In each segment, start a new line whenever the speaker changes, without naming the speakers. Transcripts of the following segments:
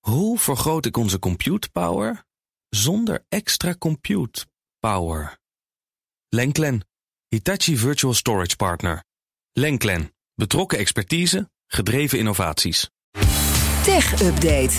hoe vergroot ik onze compute power zonder extra compute power? Lenklen, Hitachi Virtual Storage Partner. Lenklen, betrokken expertise, gedreven innovaties.
Tech Update.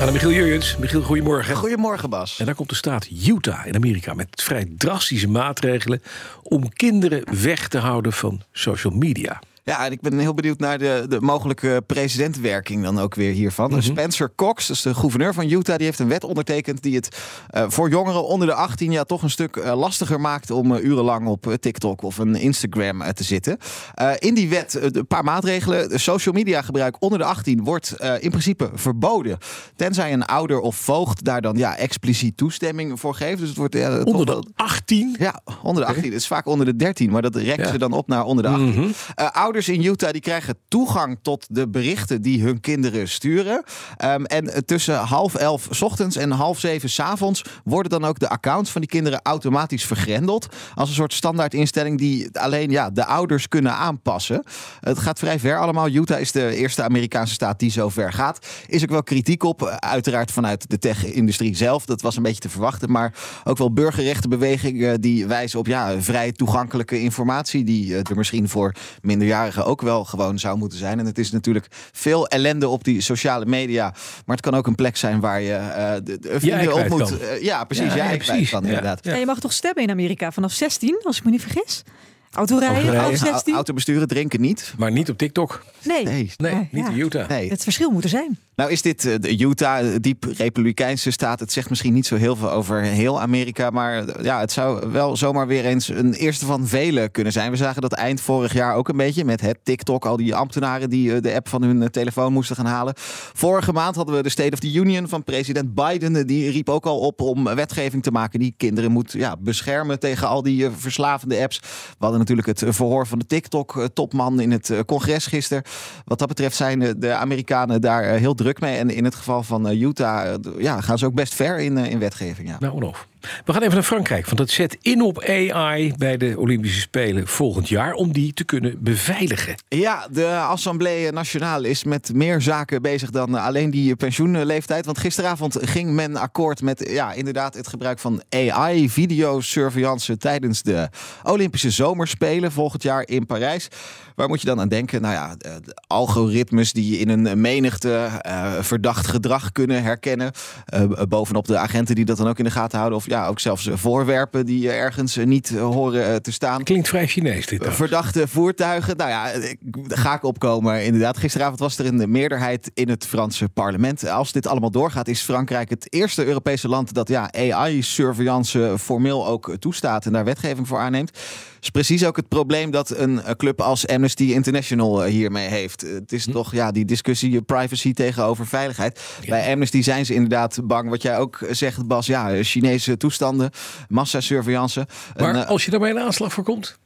Aan de Michiel Jurjens. Michiel, goedemorgen.
Goedemorgen Bas.
En daar komt de staat Utah in Amerika met vrij drastische maatregelen om kinderen weg te houden van social media.
Ja, en ik ben heel benieuwd naar de, de mogelijke presidentwerking dan ook weer hiervan. Dus
Mhm.
Spencer Cox, dat is de gouverneur van Utah, die heeft een wet ondertekend die het eh, voor jongeren onder de 18 jaar toch een stuk eh, lastiger maakt om eh, urenlang op eh, TikTok of een Instagram eh, te zitten. Eh, in die wet eh, een paar maatregelen. De Social media gebruik onder de 18 wordt eh, in principe verboden. Tenzij een ouder of voogd daar dan ja, expliciet toestemming voor geeft. Dus het wordt ja, toch
Onder
wel-
de 18.
ja, onder de 18. Het is vaak onder de 13, maar dat rekt
Ja.
ze dan op naar onder de 18. Eh, ouders in Utah die krijgen toegang tot de berichten die hun kinderen sturen. Ehm, en eh, tussen half elf 's ochtends en half zeven 's avonds worden dan ook de accounts van die kinderen automatisch vergrendeld. Als een soort standaardinstelling die alleen ja, de ouders kunnen aanpassen. Het gaat vrij ver allemaal. Utah is de eerste Amerikaanse staat die zo ver gaat. Is ook wel kritiek op, eh, uiteraard vanuit de tech-industrie zelf. Dat was een beetje te verwachten. Maar ook wel burgerrechtenbewegingen die wijzen op ja, vrij toegankelijke informatie. Die eh, er misschien voor minderjarigen ook wel gewoon zou moeten zijn. En het is natuurlijk veel ellende op die sociale media. Maar het kan ook een plek zijn waar je eh, de, de vrienden op
kwijt
moet.
kan.
eh, ja, precies.
Ja,
Ja,
ja,
jij
precies.
precies. Kan,
Ja.
inderdaad.
Ja.
Ja, je mag toch stemmen in Amerika vanaf 16, als ik me niet vergis? Autorijden,
Autorijden.
vanaf 16?
Auto besturen, drinken niet.
Maar niet op TikTok.
nee.
Nee.
Nee,
Ja,
niet
ja.
in Utah.
Nee.
Het verschil moet er zijn.
Nou is dit eh, de Utah, eh, diep republikeinse staat. Het zegt misschien niet zo heel veel over heel Amerika. Maar eh, ja, het zou wel zomaar weer eens een eerste van velen kunnen zijn. We zagen dat eind vorig jaar ook een beetje met het TikTok. Al die ambtenaren die eh, de app van hun eh, telefoon moesten gaan halen. Vorige maand hadden we de State of the Union van president Biden. Eh, Die riep ook al op om wetgeving te maken die kinderen moet ja, beschermen tegen al die eh, verslavende apps. We hadden natuurlijk het eh, verhoor van de TikTok-topman in het eh, congres gisteren. Wat dat betreft zijn eh, de Amerikanen daar eh, heel druk mee. En in het geval van eh, Utah eh, d- ja, gaan ze ook best ver in, eh, in wetgeving. Ja.
Nou, onhof. We gaan even naar Frankrijk, want dat zet in op AI bij de Olympische Spelen volgend jaar om die te kunnen beveiligen.
Ja, de Assemblée Nationale is met meer zaken bezig dan eh, alleen die pensioenleeftijd. Want gisteravond ging men akkoord met eh, ja, inderdaad het gebruik van AI, videosurveillance tijdens de Olympische Zomerspelen volgend jaar in Parijs. Waar moet je dan aan denken? Nou ja, eh, de algoritmes die in een menigte eh, verdacht gedrag kunnen herkennen. Eh, bovenop de agenten die dat dan ook in de gaten houden. Of ja, ook zelfs eh, voorwerpen die eh, ergens eh, niet eh, horen eh, te staan.
Klinkt vrij Chinees dit. dan.
Verdachte voertuigen. Nou ja, ik- ga ik opkomen. Inderdaad, gisteravond was er een meerderheid in het Franse parlement. Als dit allemaal doorgaat, is Frankrijk het eerste Europese land dat ja, AI-surveillance formeel ook toestaat en daar wetgeving voor aanneemt. Is precies ook het probleem dat een eh, club als Amnesty International eh, hiermee heeft. Eh, Het is toch ja, die discussie eh, privacy tegenover veiligheid. Bij Amnesty zijn ze inderdaad bang. Wat jij ook zegt, Bas, ja, eh, Chinese toestanden, massasurveillance. Een,
Maar
eh,
als je daarmee een aanslag voorkomt,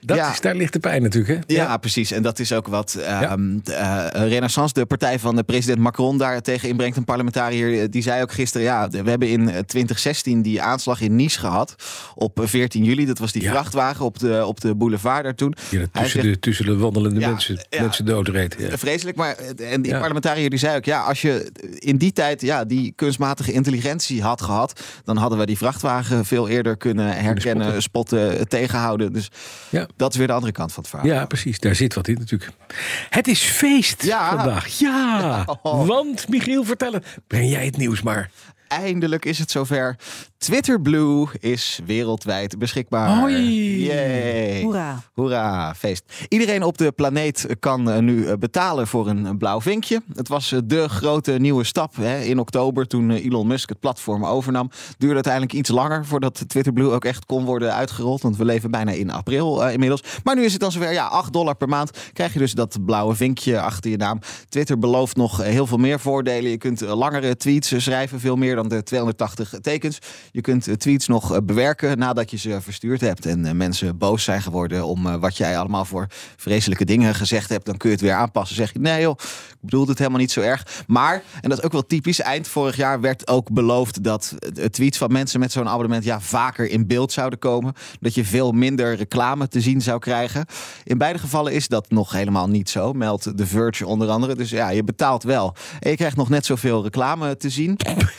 dat
Ja.
is, daar ligt de pijn natuurlijk. Hè?
Ja, precies. En dat is ook wat ehm, de, eh, Renaissance, de partij van eh, president Macron, daar tegen inbrengt. Een parlementariër eh, die zei ook gisteren: ja, de- we hebben in eh, 2016 die aanslag in Nice gehad. Op eh, 14 juli. Dat was die
Ja.
vrachtwagen op de, op de boulevard daar toen.
Ja,
Hij
tussen,
zegt-
de, tussen de wandelende
Ja,
mensen,
ja.
mensen doodreed. Ja.
Vreselijk, maar eh, en die
Ja.
parlementariër die zei ook: ja, als je in die tijd ja, die kunstmatige intelligentie had gehad, dan hadden we die vrachtwagen veel eerder kunnen herkennen, spotten, eh, tegenhouden. Dus
Ja.
dat is weer de andere kant van het verhaal.
Ja, precies. Daar zit wat in natuurlijk. Het is feest
Ja.
vandaag. Ja,
Oh.
want Michiel, vertel het. Breng jij het nieuws maar.
Eindelijk is het zover. Twitter Blue is wereldwijd beschikbaar.
Hoi.
Yay.
Hoera.
Hoera, feest. Iedereen op de planeet kan eh, nu eh, betalen voor een eh, blauw vinkje. Het was eh, de grote nieuwe stap hè, in oktober toen eh, Elon Musk het platform overnam. Duurde uiteindelijk iets langer voordat Twitter Blue ook echt kon worden uitgerold. Want we leven bijna in april eh, inmiddels. Maar nu is het dan zover. Ja, 8 dollar per maand krijg je dus dat blauwe vinkje achter je naam. Twitter belooft nog eh, heel veel meer voordelen. Je kunt eh, langere tweets eh, schrijven, veel meer dan de 280 tekens. Je kunt eh, tweets nog eh, bewerken nadat je ze verstuurd hebt. En eh, mensen boos zijn geworden om eh, wat jij allemaal voor vreselijke dingen gezegd hebt. Dan kun je het weer aanpassen. Zeg je, nee joh, ik bedoelde het helemaal niet zo erg. Maar, en dat is ook wel typisch, eind vorig jaar werd ook beloofd dat eh, tweets van mensen met zo'n abonnement ja, vaker in beeld zouden komen. Dat je veel minder reclame te zien zou krijgen. In beide gevallen is dat nog helemaal niet zo, meldt The Verge onder andere. Dus ja, je betaalt wel. En je krijgt nog net zoveel reclame te zien.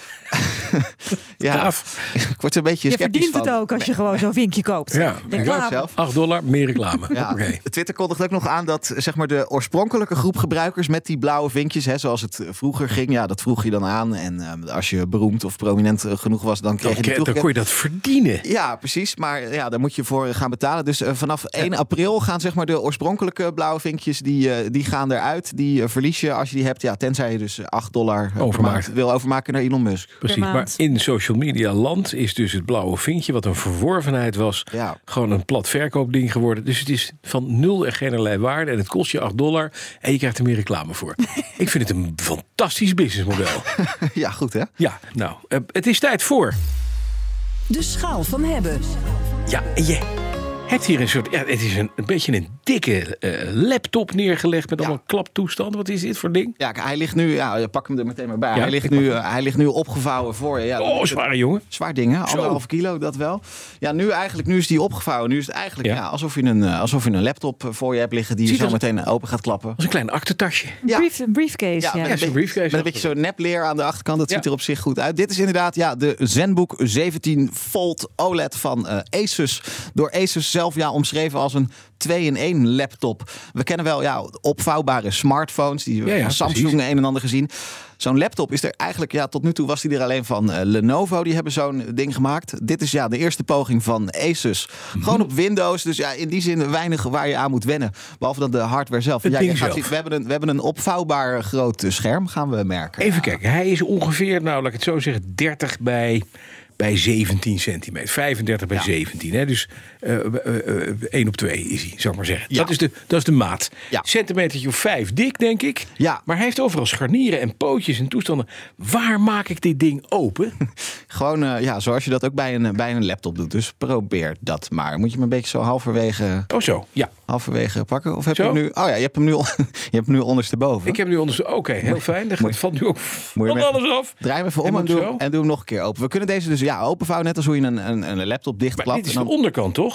ja,
Gaaf.
ik word er een beetje
Je
sceptisch
verdient het
van.
ook als je gewoon zo'n vinkje koopt.
Ja,
Reclame.
Ik ook zelf.
8 dollar, meer reclame.
Ja.
Oké.
Twitter kondigt ook nog aan dat zeg maar, de oorspronkelijke groep gebruikers met die blauwe vinkjes, hè, zoals het eh, vroeger ging, ja, dat vroeg je dan aan. En ehm, als je beroemd of prominent eh, genoeg was, dan kreeg je die
Dan, dan kon
toegekend.
je dat verdienen.
Ja, precies. Maar eh, ja, daar moet je voor eh, gaan betalen. Dus eh, vanaf 1 april gaan zeg maar, de oorspronkelijke blauwe vinkjes die, eh, die gaan eruit. Die eh, verlies je als je die hebt. Ja, tenzij je dus eh, 8 dollar eh, per
Overmaakt.
maand wil overmaken naar Elon Musk.
Precies,
Per
maar
maand.
in social media land is dus het blauwe vinkje, wat een verworvenheid was,
Ja.
gewoon een plat verkoopding geworden. Dus het is van nul en geen allerlei waarde en het kost je 8 dollar en je krijgt er meer reclame voor. Ik vind het een fantastisch businessmodel.
ja, goed hè?
Ja, nou, eh, het is tijd voor.
De schaal van hebben.
Ja, en je hebt hier een soort, ja, het is een, een beetje een dikke eh, laptop neergelegd met allemaal klaptoestanden. Wat is dit voor ding?
Ja, hij ligt nu, ja, pak hem er meteen maar bij.
Ja,
hij, ligt
ik
nu, eh, hij ligt nu opgevouwen voor je. Ja, dan
Oh,
moet je-
zware jongen.
Zwaar ding, hè? Anderhalf kilo, dat wel. Ja, nu eigenlijk, nu is die opgevouwen. Nu is het eigenlijk
Ja.
ja. alsof, je een, eh, alsof je een laptop eh, voor je hebt liggen die je
Ziet
zo
als-
meteen open gaat klappen.
Als een klein aktentasje.
Ja.
Brief, een briefcase,
Ja,
ja.
met,
zo'n
een beetje-
briefcase
met een
achter.
beetje zo'n nepleer aan de achterkant. Dat
Ja.
ziet er op zich goed uit. Dit is inderdaad ja, de Zenbook 17 Volt OLED van eh, Asus. Door Asus zelf ja, omschreven als een 2-in-1 laptop. We kennen wel ja, opvouwbare smartphones. Die
Ja, ja,
van Samsung
precies.
een en ander gezien. Zo'n laptop is er eigenlijk, ja, tot nu toe was die er alleen van eh, Lenovo. Die hebben zo'n ding gemaakt. Dit is ja de eerste poging van Asus.
Mhm.
Gewoon op Windows. Dus ja, in die zin weinig waar je aan moet wennen. Behalve dan de hardware zelf.
Het
ja, je
ding
gaat
zelf.
zien- we hebben, een, we hebben een opvouwbaar groot eh, scherm, gaan we merken.
Even kijken, hij is ongeveer, nou laat ik het zo zeggen, 30 bij, bij 17 centimeter. 35 bij 17, hè? dus eh eh, eh, 1 op 2 is hij, zou ik maar zeggen.
Ja.
Dat, is de, dat is de maat.
Ja.
Centimetertje of 5 dik, denk ik.
Ja.
Maar hij heeft overal scharnieren en pootjes en toestanden. Waar maak ik dit ding open?
Gewoon eh, ja, zoals je dat ook bij een, eh, bij een laptop doet. Dus probeer dat maar. Moet je hem een beetje zo halverwege,
Oh zo, ja.
halverwege pakken? Of heb
Zo?
je hem nu... Oh ja, je hebt hem nu, on- je hebt hem nu ondersteboven.
Ik heb nu onderzoek. Oké, heel fijn. Dan gaat- valt nu ook
Moet je
van
hem even-
alles af.
Draai hem even om
En
en,
moet
doe,
zo?
hem- en doe hem nog een keer open. We kunnen deze dus ja, openvouwen, net als hoe je een, een, een laptop
Maar dit
dichtklapt.
is
En
de
dan,
onderkant, toch?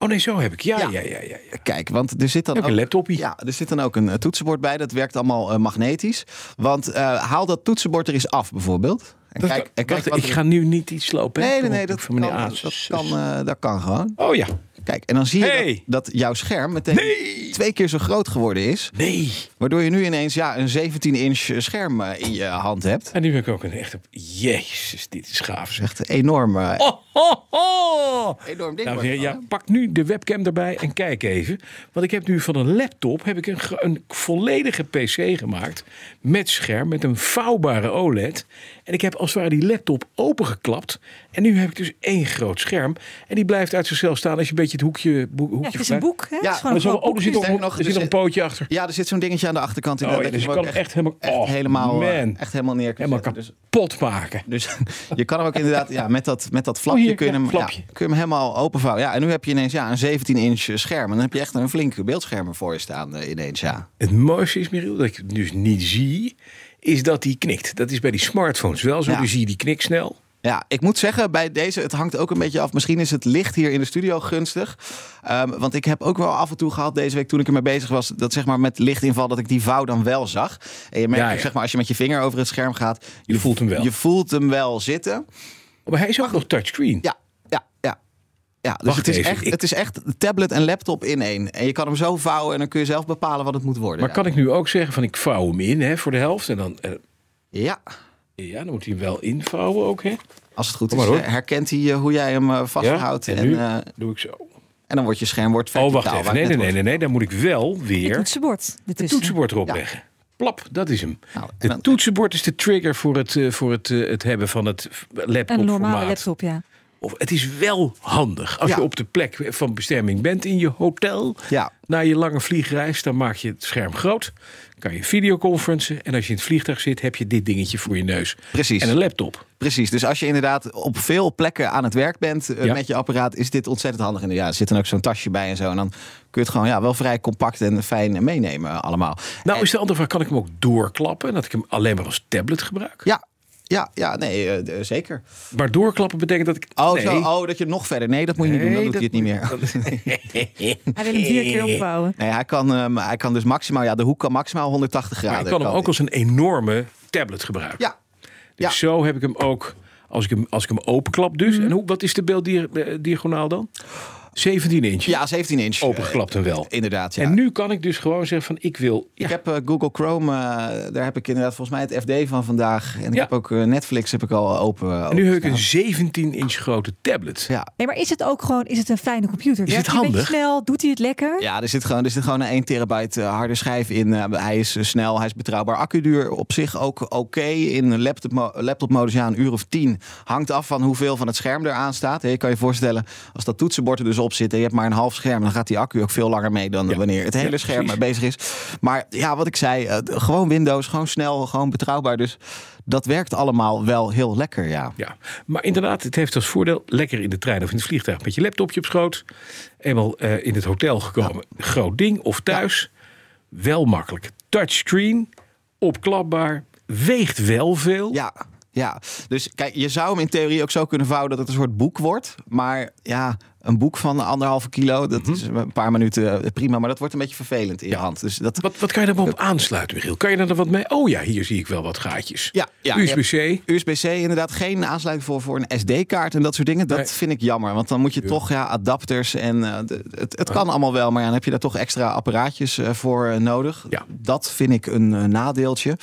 Oh nee, zo heb ik. Ja, ja,
Ja.
ja, ja. ja,
kijk, want er zit dan
Ook een laptopje.
Ja, er zit dan ook een eh, toetsenbord bij. Dat werkt allemaal eh, magnetisch. Want eh, haal dat toetsenbord er eens af, bijvoorbeeld. En
Dat-
kijk, en kijk
wacht,
wat
ik
er-
ga nu niet iets slopen. hè?
Nee, nee, nee,
Op-
dat
van
kan,
meneer
dat,
Asus.
kan, eh, dat kan gewoon.
Oh ja.
Kijk, en dan zie je
Hey.
dat, dat jouw scherm meteen
Nee.
twee keer zo groot geworden is.
Nee.
Waardoor je nu ineens ja, een 17-inch scherm eh, in je hand hebt.
En nu ben ik ook een echte... Jezus, dit is gaaf zeg.
Echt enorm, eh,
Oh, ho, ho.
enorm ding.
Dames en
wordt
heren,
het
ja,
dan, hè?
pak nu de webcam erbij en kijk even. Want ik heb nu van een laptop heb ik een, ge- een volledige PC gemaakt. Met scherm, met een vouwbare OLED. En ik heb als het ware die laptop opengeklapt. En nu heb ik dus één groot scherm. En die blijft uit zichzelf staan als je een beetje het hoekje. boek- hoekje
Ja, het is een
vrij-
boek, hè? Het is gewoon
Maar
een
zo,
groot
oh, er zit, nog,
Sterker
boekje.
er
nog,
zit
er
nog eh, een
zit-
pootje achter.
Ja, er zit zo'n dingetje aan de achterkant.
Oh,
inderdaad,
ja,
dat
dus
je
je
hem
kan
ook
hem echt helemaal,
echt
oh,
helemaal, eh,
man.
echt helemaal neer kunnen
helemaal
zetten. Dus,
kapot maken.
dus je kan hem ook inderdaad ja, met, dat, met dat flapje,
Oh, hier,
kun, je
ja,
hem, ja,
flapje.
kun je hem helemaal openvouwen. Ja, en nu heb je ineens ja, een 17-inch scherm. En dan heb je echt een flinke beeldscherm voor je staan eh, ineens. Ja.
Het mooiste is, Michiel, dat ik het dus niet zie, is dat die knikt. Dat is bij die smartphones wel zo.
Ja.
Dan zie je die knik snel.
Ja, ik moet zeggen, bij deze, het hangt ook een beetje af. Misschien is het licht hier in de studio gunstig. Ehm, want ik heb ook wel af en toe gehad deze week toen ik ermee bezig was... dat zeg maar met lichtinval dat ik die vouw dan wel zag. En je merkt
Ja,
ook,
ja.
zeg maar als je met je vinger over het scherm gaat...
Je voelt hem wel.
Je voelt hem wel zitten.
Maar hij is ook nog touchscreen.
Ja, ja, ja. Ja, dus
Wacht
het, is
even,
echt,
ik-
het is echt tablet en laptop in één. En je kan hem zo vouwen en dan kun je zelf bepalen wat het moet worden.
maar
ja.
kan ik nu ook zeggen van ik vouw hem in hè, voor de helft. En dan, eh,
Ja,
ja, dan moet hij hem wel invouwen ook. Hè?
als het goed
Kom maar
is,
hoor.
eh, herkent hij eh, hoe jij hem eh,
Ja?
vasthoudt.
en
en,
nu
eh,
doe ik zo.
en dan wordt je scherm wordt
Oh,
verticaal.
wacht even.
waar
Nee,
het
nee,
net
nee, nee, nee. Dan moet ik wel
Het
weer
toetsenbord. Dit
het
is
toetsenbord erop
Ja.
leggen. Plap, dat is hem.
Nou, en
Het
dan-
toetsenbord is de trigger voor het, eh, voor het, eh, het hebben van het
een normale
laptopformaat.
laptop, ja.
Of, het is wel handig als
Ja.
je op de plek van bestemming bent in je hotel.
Ja.
Na je lange vliegreis, dan maak je het scherm groot. Kan je videoconferencen. En als je in het vliegtuig zit, heb je dit dingetje voor je neus.
Precies.
En een laptop.
Precies, dus als je inderdaad op veel plekken aan het werk bent eh,
Ja.
met je apparaat, is dit ontzettend handig. En ja, er zit dan ook zo'n tasje bij en zo. En dan kun je het gewoon ja, wel vrij compact en fijn meenemen allemaal.
Nou is de andere vraag, kan ik hem ook doorklappen? Dat ik hem alleen maar als tablet gebruik?
Ja, ja, ja nee, eh, eh, zeker.
Maar doorklappen betekent dat ik...
Oh,
nee.
zo, oh, dat je nog verder. Nee, dat moet je niet doen. Dan doet hij het niet meer.
Hij wil hem vier keer opbouwen.
Nee, hij kan, ehm, hij kan dus maximaal, ja, de hoek kan maximaal 180
Maar
graden.
ik kan hem ook
die.
als een enorme tablet gebruiken.
Ja,
Dus
ja. Mhm.
zo heb ik hem ook, als ik hem, als ik hem openklap dus. En hoe, wat is de beelddiagonaal dan? 17 inch.
ja, 17 inch.
Opengeklapt en wel.
Eh, inderdaad, ja.
En nu kan ik dus gewoon zeggen van ik wil... Ja,
Ik heb eh, Google Chrome, eh, daar heb ik inderdaad volgens mij het FD van vandaag. En ik
Ja.
heb ook eh, Netflix heb ik al open.
en nu heb ik een 17 inch grote tablet.
Ja.
Nee, maar is het ook gewoon, is het een fijne computer?
Is het
Werkt hij een
handig?
beetje snel? Doet hij het lekker?
Ja, er zit gewoon, er zit gewoon een 1 terabyte eh, harde schijf in. Eh, hij is eh, snel, hij is betrouwbaar. Accuduur op zich ook oké. In een laptop, laptopmodus ja, een uur of tien. Hangt af van hoeveel van het scherm er aan staat. Je kan je voorstellen, als dat toetsenbord er dus op zit... en je hebt maar een half scherm, dan gaat die accu ook veel langer mee... dan
Ja.
wanneer het hele
Ja,
scherm
precies.
bezig is. Maar ja, wat ik zei, eh, d- gewoon Windows, gewoon snel, gewoon betrouwbaar. Dus dat werkt allemaal wel heel lekker, ja.
Ja, maar inderdaad, het heeft als voordeel lekker in de trein of in het vliegtuig met je laptopje op schoot. Eenmaal eh, in het hotel gekomen, groot ding of thuis. Wel makkelijk. Touchscreen, opklapbaar, weegt wel veel.
Ja, ja. Dus kijk, je zou hem in theorie ook zo kunnen vouwen dat het een soort boek wordt. Maar ja, een boek van anderhalve kilo, dat
Mhm.
is een paar minuten eh, prima. Maar dat wordt een beetje vervelend in je hand. Dus dat,
Wat, wat kan je daar wel op aansluiten, Michiel? Kan je daar dan wat mee? Oh ja, hier zie ik wel wat gaatjes.
Ja, ja,
USB-C.
USB-C inderdaad geen aansluiting voor, voor een SD-kaart en dat soort dingen. Dat
Nee.
vind ik jammer, want dan moet je toch ja, adapters en eh, de- het, het kan allemaal wel. Maar ja, dan heb je daar toch extra apparaatjes eh, voor eh, nodig.
Ja.
Dat vind ik een eh, nadeeltje.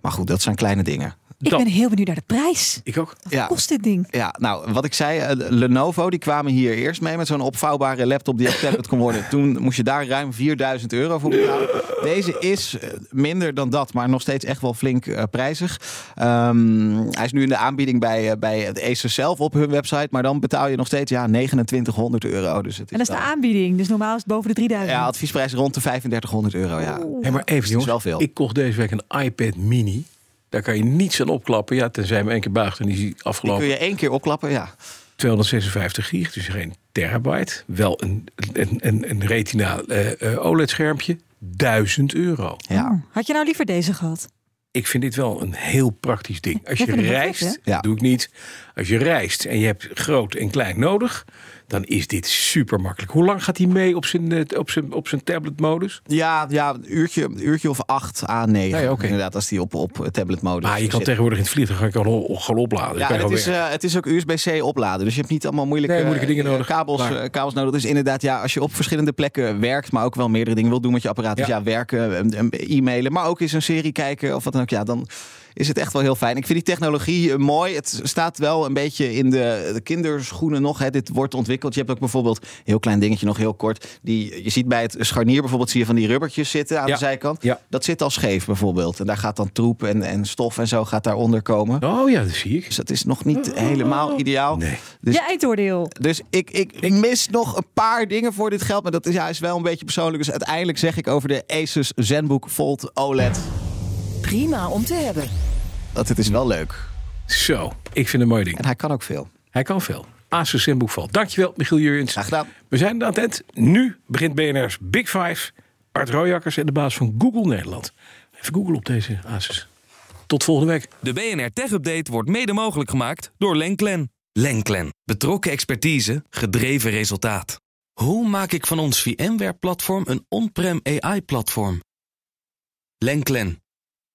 Maar goed, dat zijn kleine dingen.
Ik
dat-
ben heel benieuwd naar de prijs.
Ik ook.
Ja.
Kost dit ding?
Ja, nou, wat ik zei, eh, Lenovo, die kwamen hier eerst mee met zo'n opvouwbare laptop die op tablet kon worden. Toen moest je daar ruim 4000 euro voor betalen. Deze is eh, minder dan dat, maar nog steeds echt wel flink eh, prijzig. Ehm, hij is nu in de aanbieding bij, eh, bij het Acer zelf op hun website, maar dan betaal je nog steeds ja, 2900 euro. Dus het is
En dat is de
wel-
aanbieding. Dus normaal is het boven de 3000.
Ja, adviesprijs rond de 3500 euro, ja.
Hé, maar even jongens,
wel veel.
ik kocht deze week een iPad mini. Daar kan je niets aan opklappen. Ja, tenzij hem één keer buigt en die is
Die kun
afgelopen.
je één keer opklappen, ja.
256 gig, dus geen terabyte. Wel een, een, een, een retina eh, OLED-schermpje. 1000 euro.
ja.
Oh, Had je nou liever deze gehad?
Ik vind dit wel een heel praktisch ding. Als
Ja,
je
vind ik wel
reist,
vet, hè?
Ja.
dat doe ik niet. Als je reist en je hebt groot en klein nodig, dan is dit super makkelijk. Hoe lang gaat hij mee op zijn, eh, op zijn, op zijn tablet-modus?
Ja, ja, een uurtje, een uurtje of 8 à 9.
Ja, ja, oké.
Inderdaad, als die op, op tabletmodus
Maar je kan
zit.
tegenwoordig in het vliegtuig gewoon, op- gewoon opladen.
Ja,
Je kan
en het
gewoon
is,
weg.
eh, het is ook USB-C opladen. Dus je hebt niet allemaal moeilijke,
Nee, moeilijke dingen
eh,
nodig.
Kabels,
Klaar.
eh, kabels nodig. Dus inderdaad, ja, als je op verschillende plekken werkt, maar ook wel meerdere dingen wil doen met je apparaat. Dus
Ja.
ja, werken, em, em, e-mailen, maar ook eens een serie kijken of wat dan ook. Ja, dan is het echt wel heel fijn. Ik vind die technologie eh, mooi. Het staat wel een beetje in de, de kinderschoenen nog. Hè. Dit wordt ontwikkeld. Je hebt ook bijvoorbeeld, een heel klein dingetje nog heel kort. Die, je ziet bij het scharnier bijvoorbeeld, zie je van die rubbertjes zitten aan
Ja.
de zijkant.
Ja.
Dat zit al scheef bijvoorbeeld. En daar gaat dan troep en, en stof en zo gaat daaronder komen.
Oh ja, dat zie ik.
Dus dat is nog niet helemaal ideaal.
Nee.
Dus,
Je eindoordeel.
dus ik, ik, mis nog een paar dingen voor dit geld. Maar dat is, ja, is wel een beetje persoonlijk. Dus uiteindelijk zeg ik over de Asus ZenBook Fold OLED.
Prima om te hebben.
Dat het is wel leuk.
Zo, ik vind het een mooi ding.
En hij kan ook veel.
Hij kan veel. Asus in boekval. Dankjewel, Michiel Jurjens.
Graag gedaan.
We zijn aan het eind. Nu begint BNR's Big Five. Art Royakkers en de baas van Google Nederland. Even Google op deze Asus. Tot volgende week.
De BNR Tech Update wordt mede mogelijk gemaakt door Lenklen. Lenklen. Betrokken expertise, gedreven resultaat. Hoe maak ik van ons VMware-platform een on-prem AI-platform? Lenklen.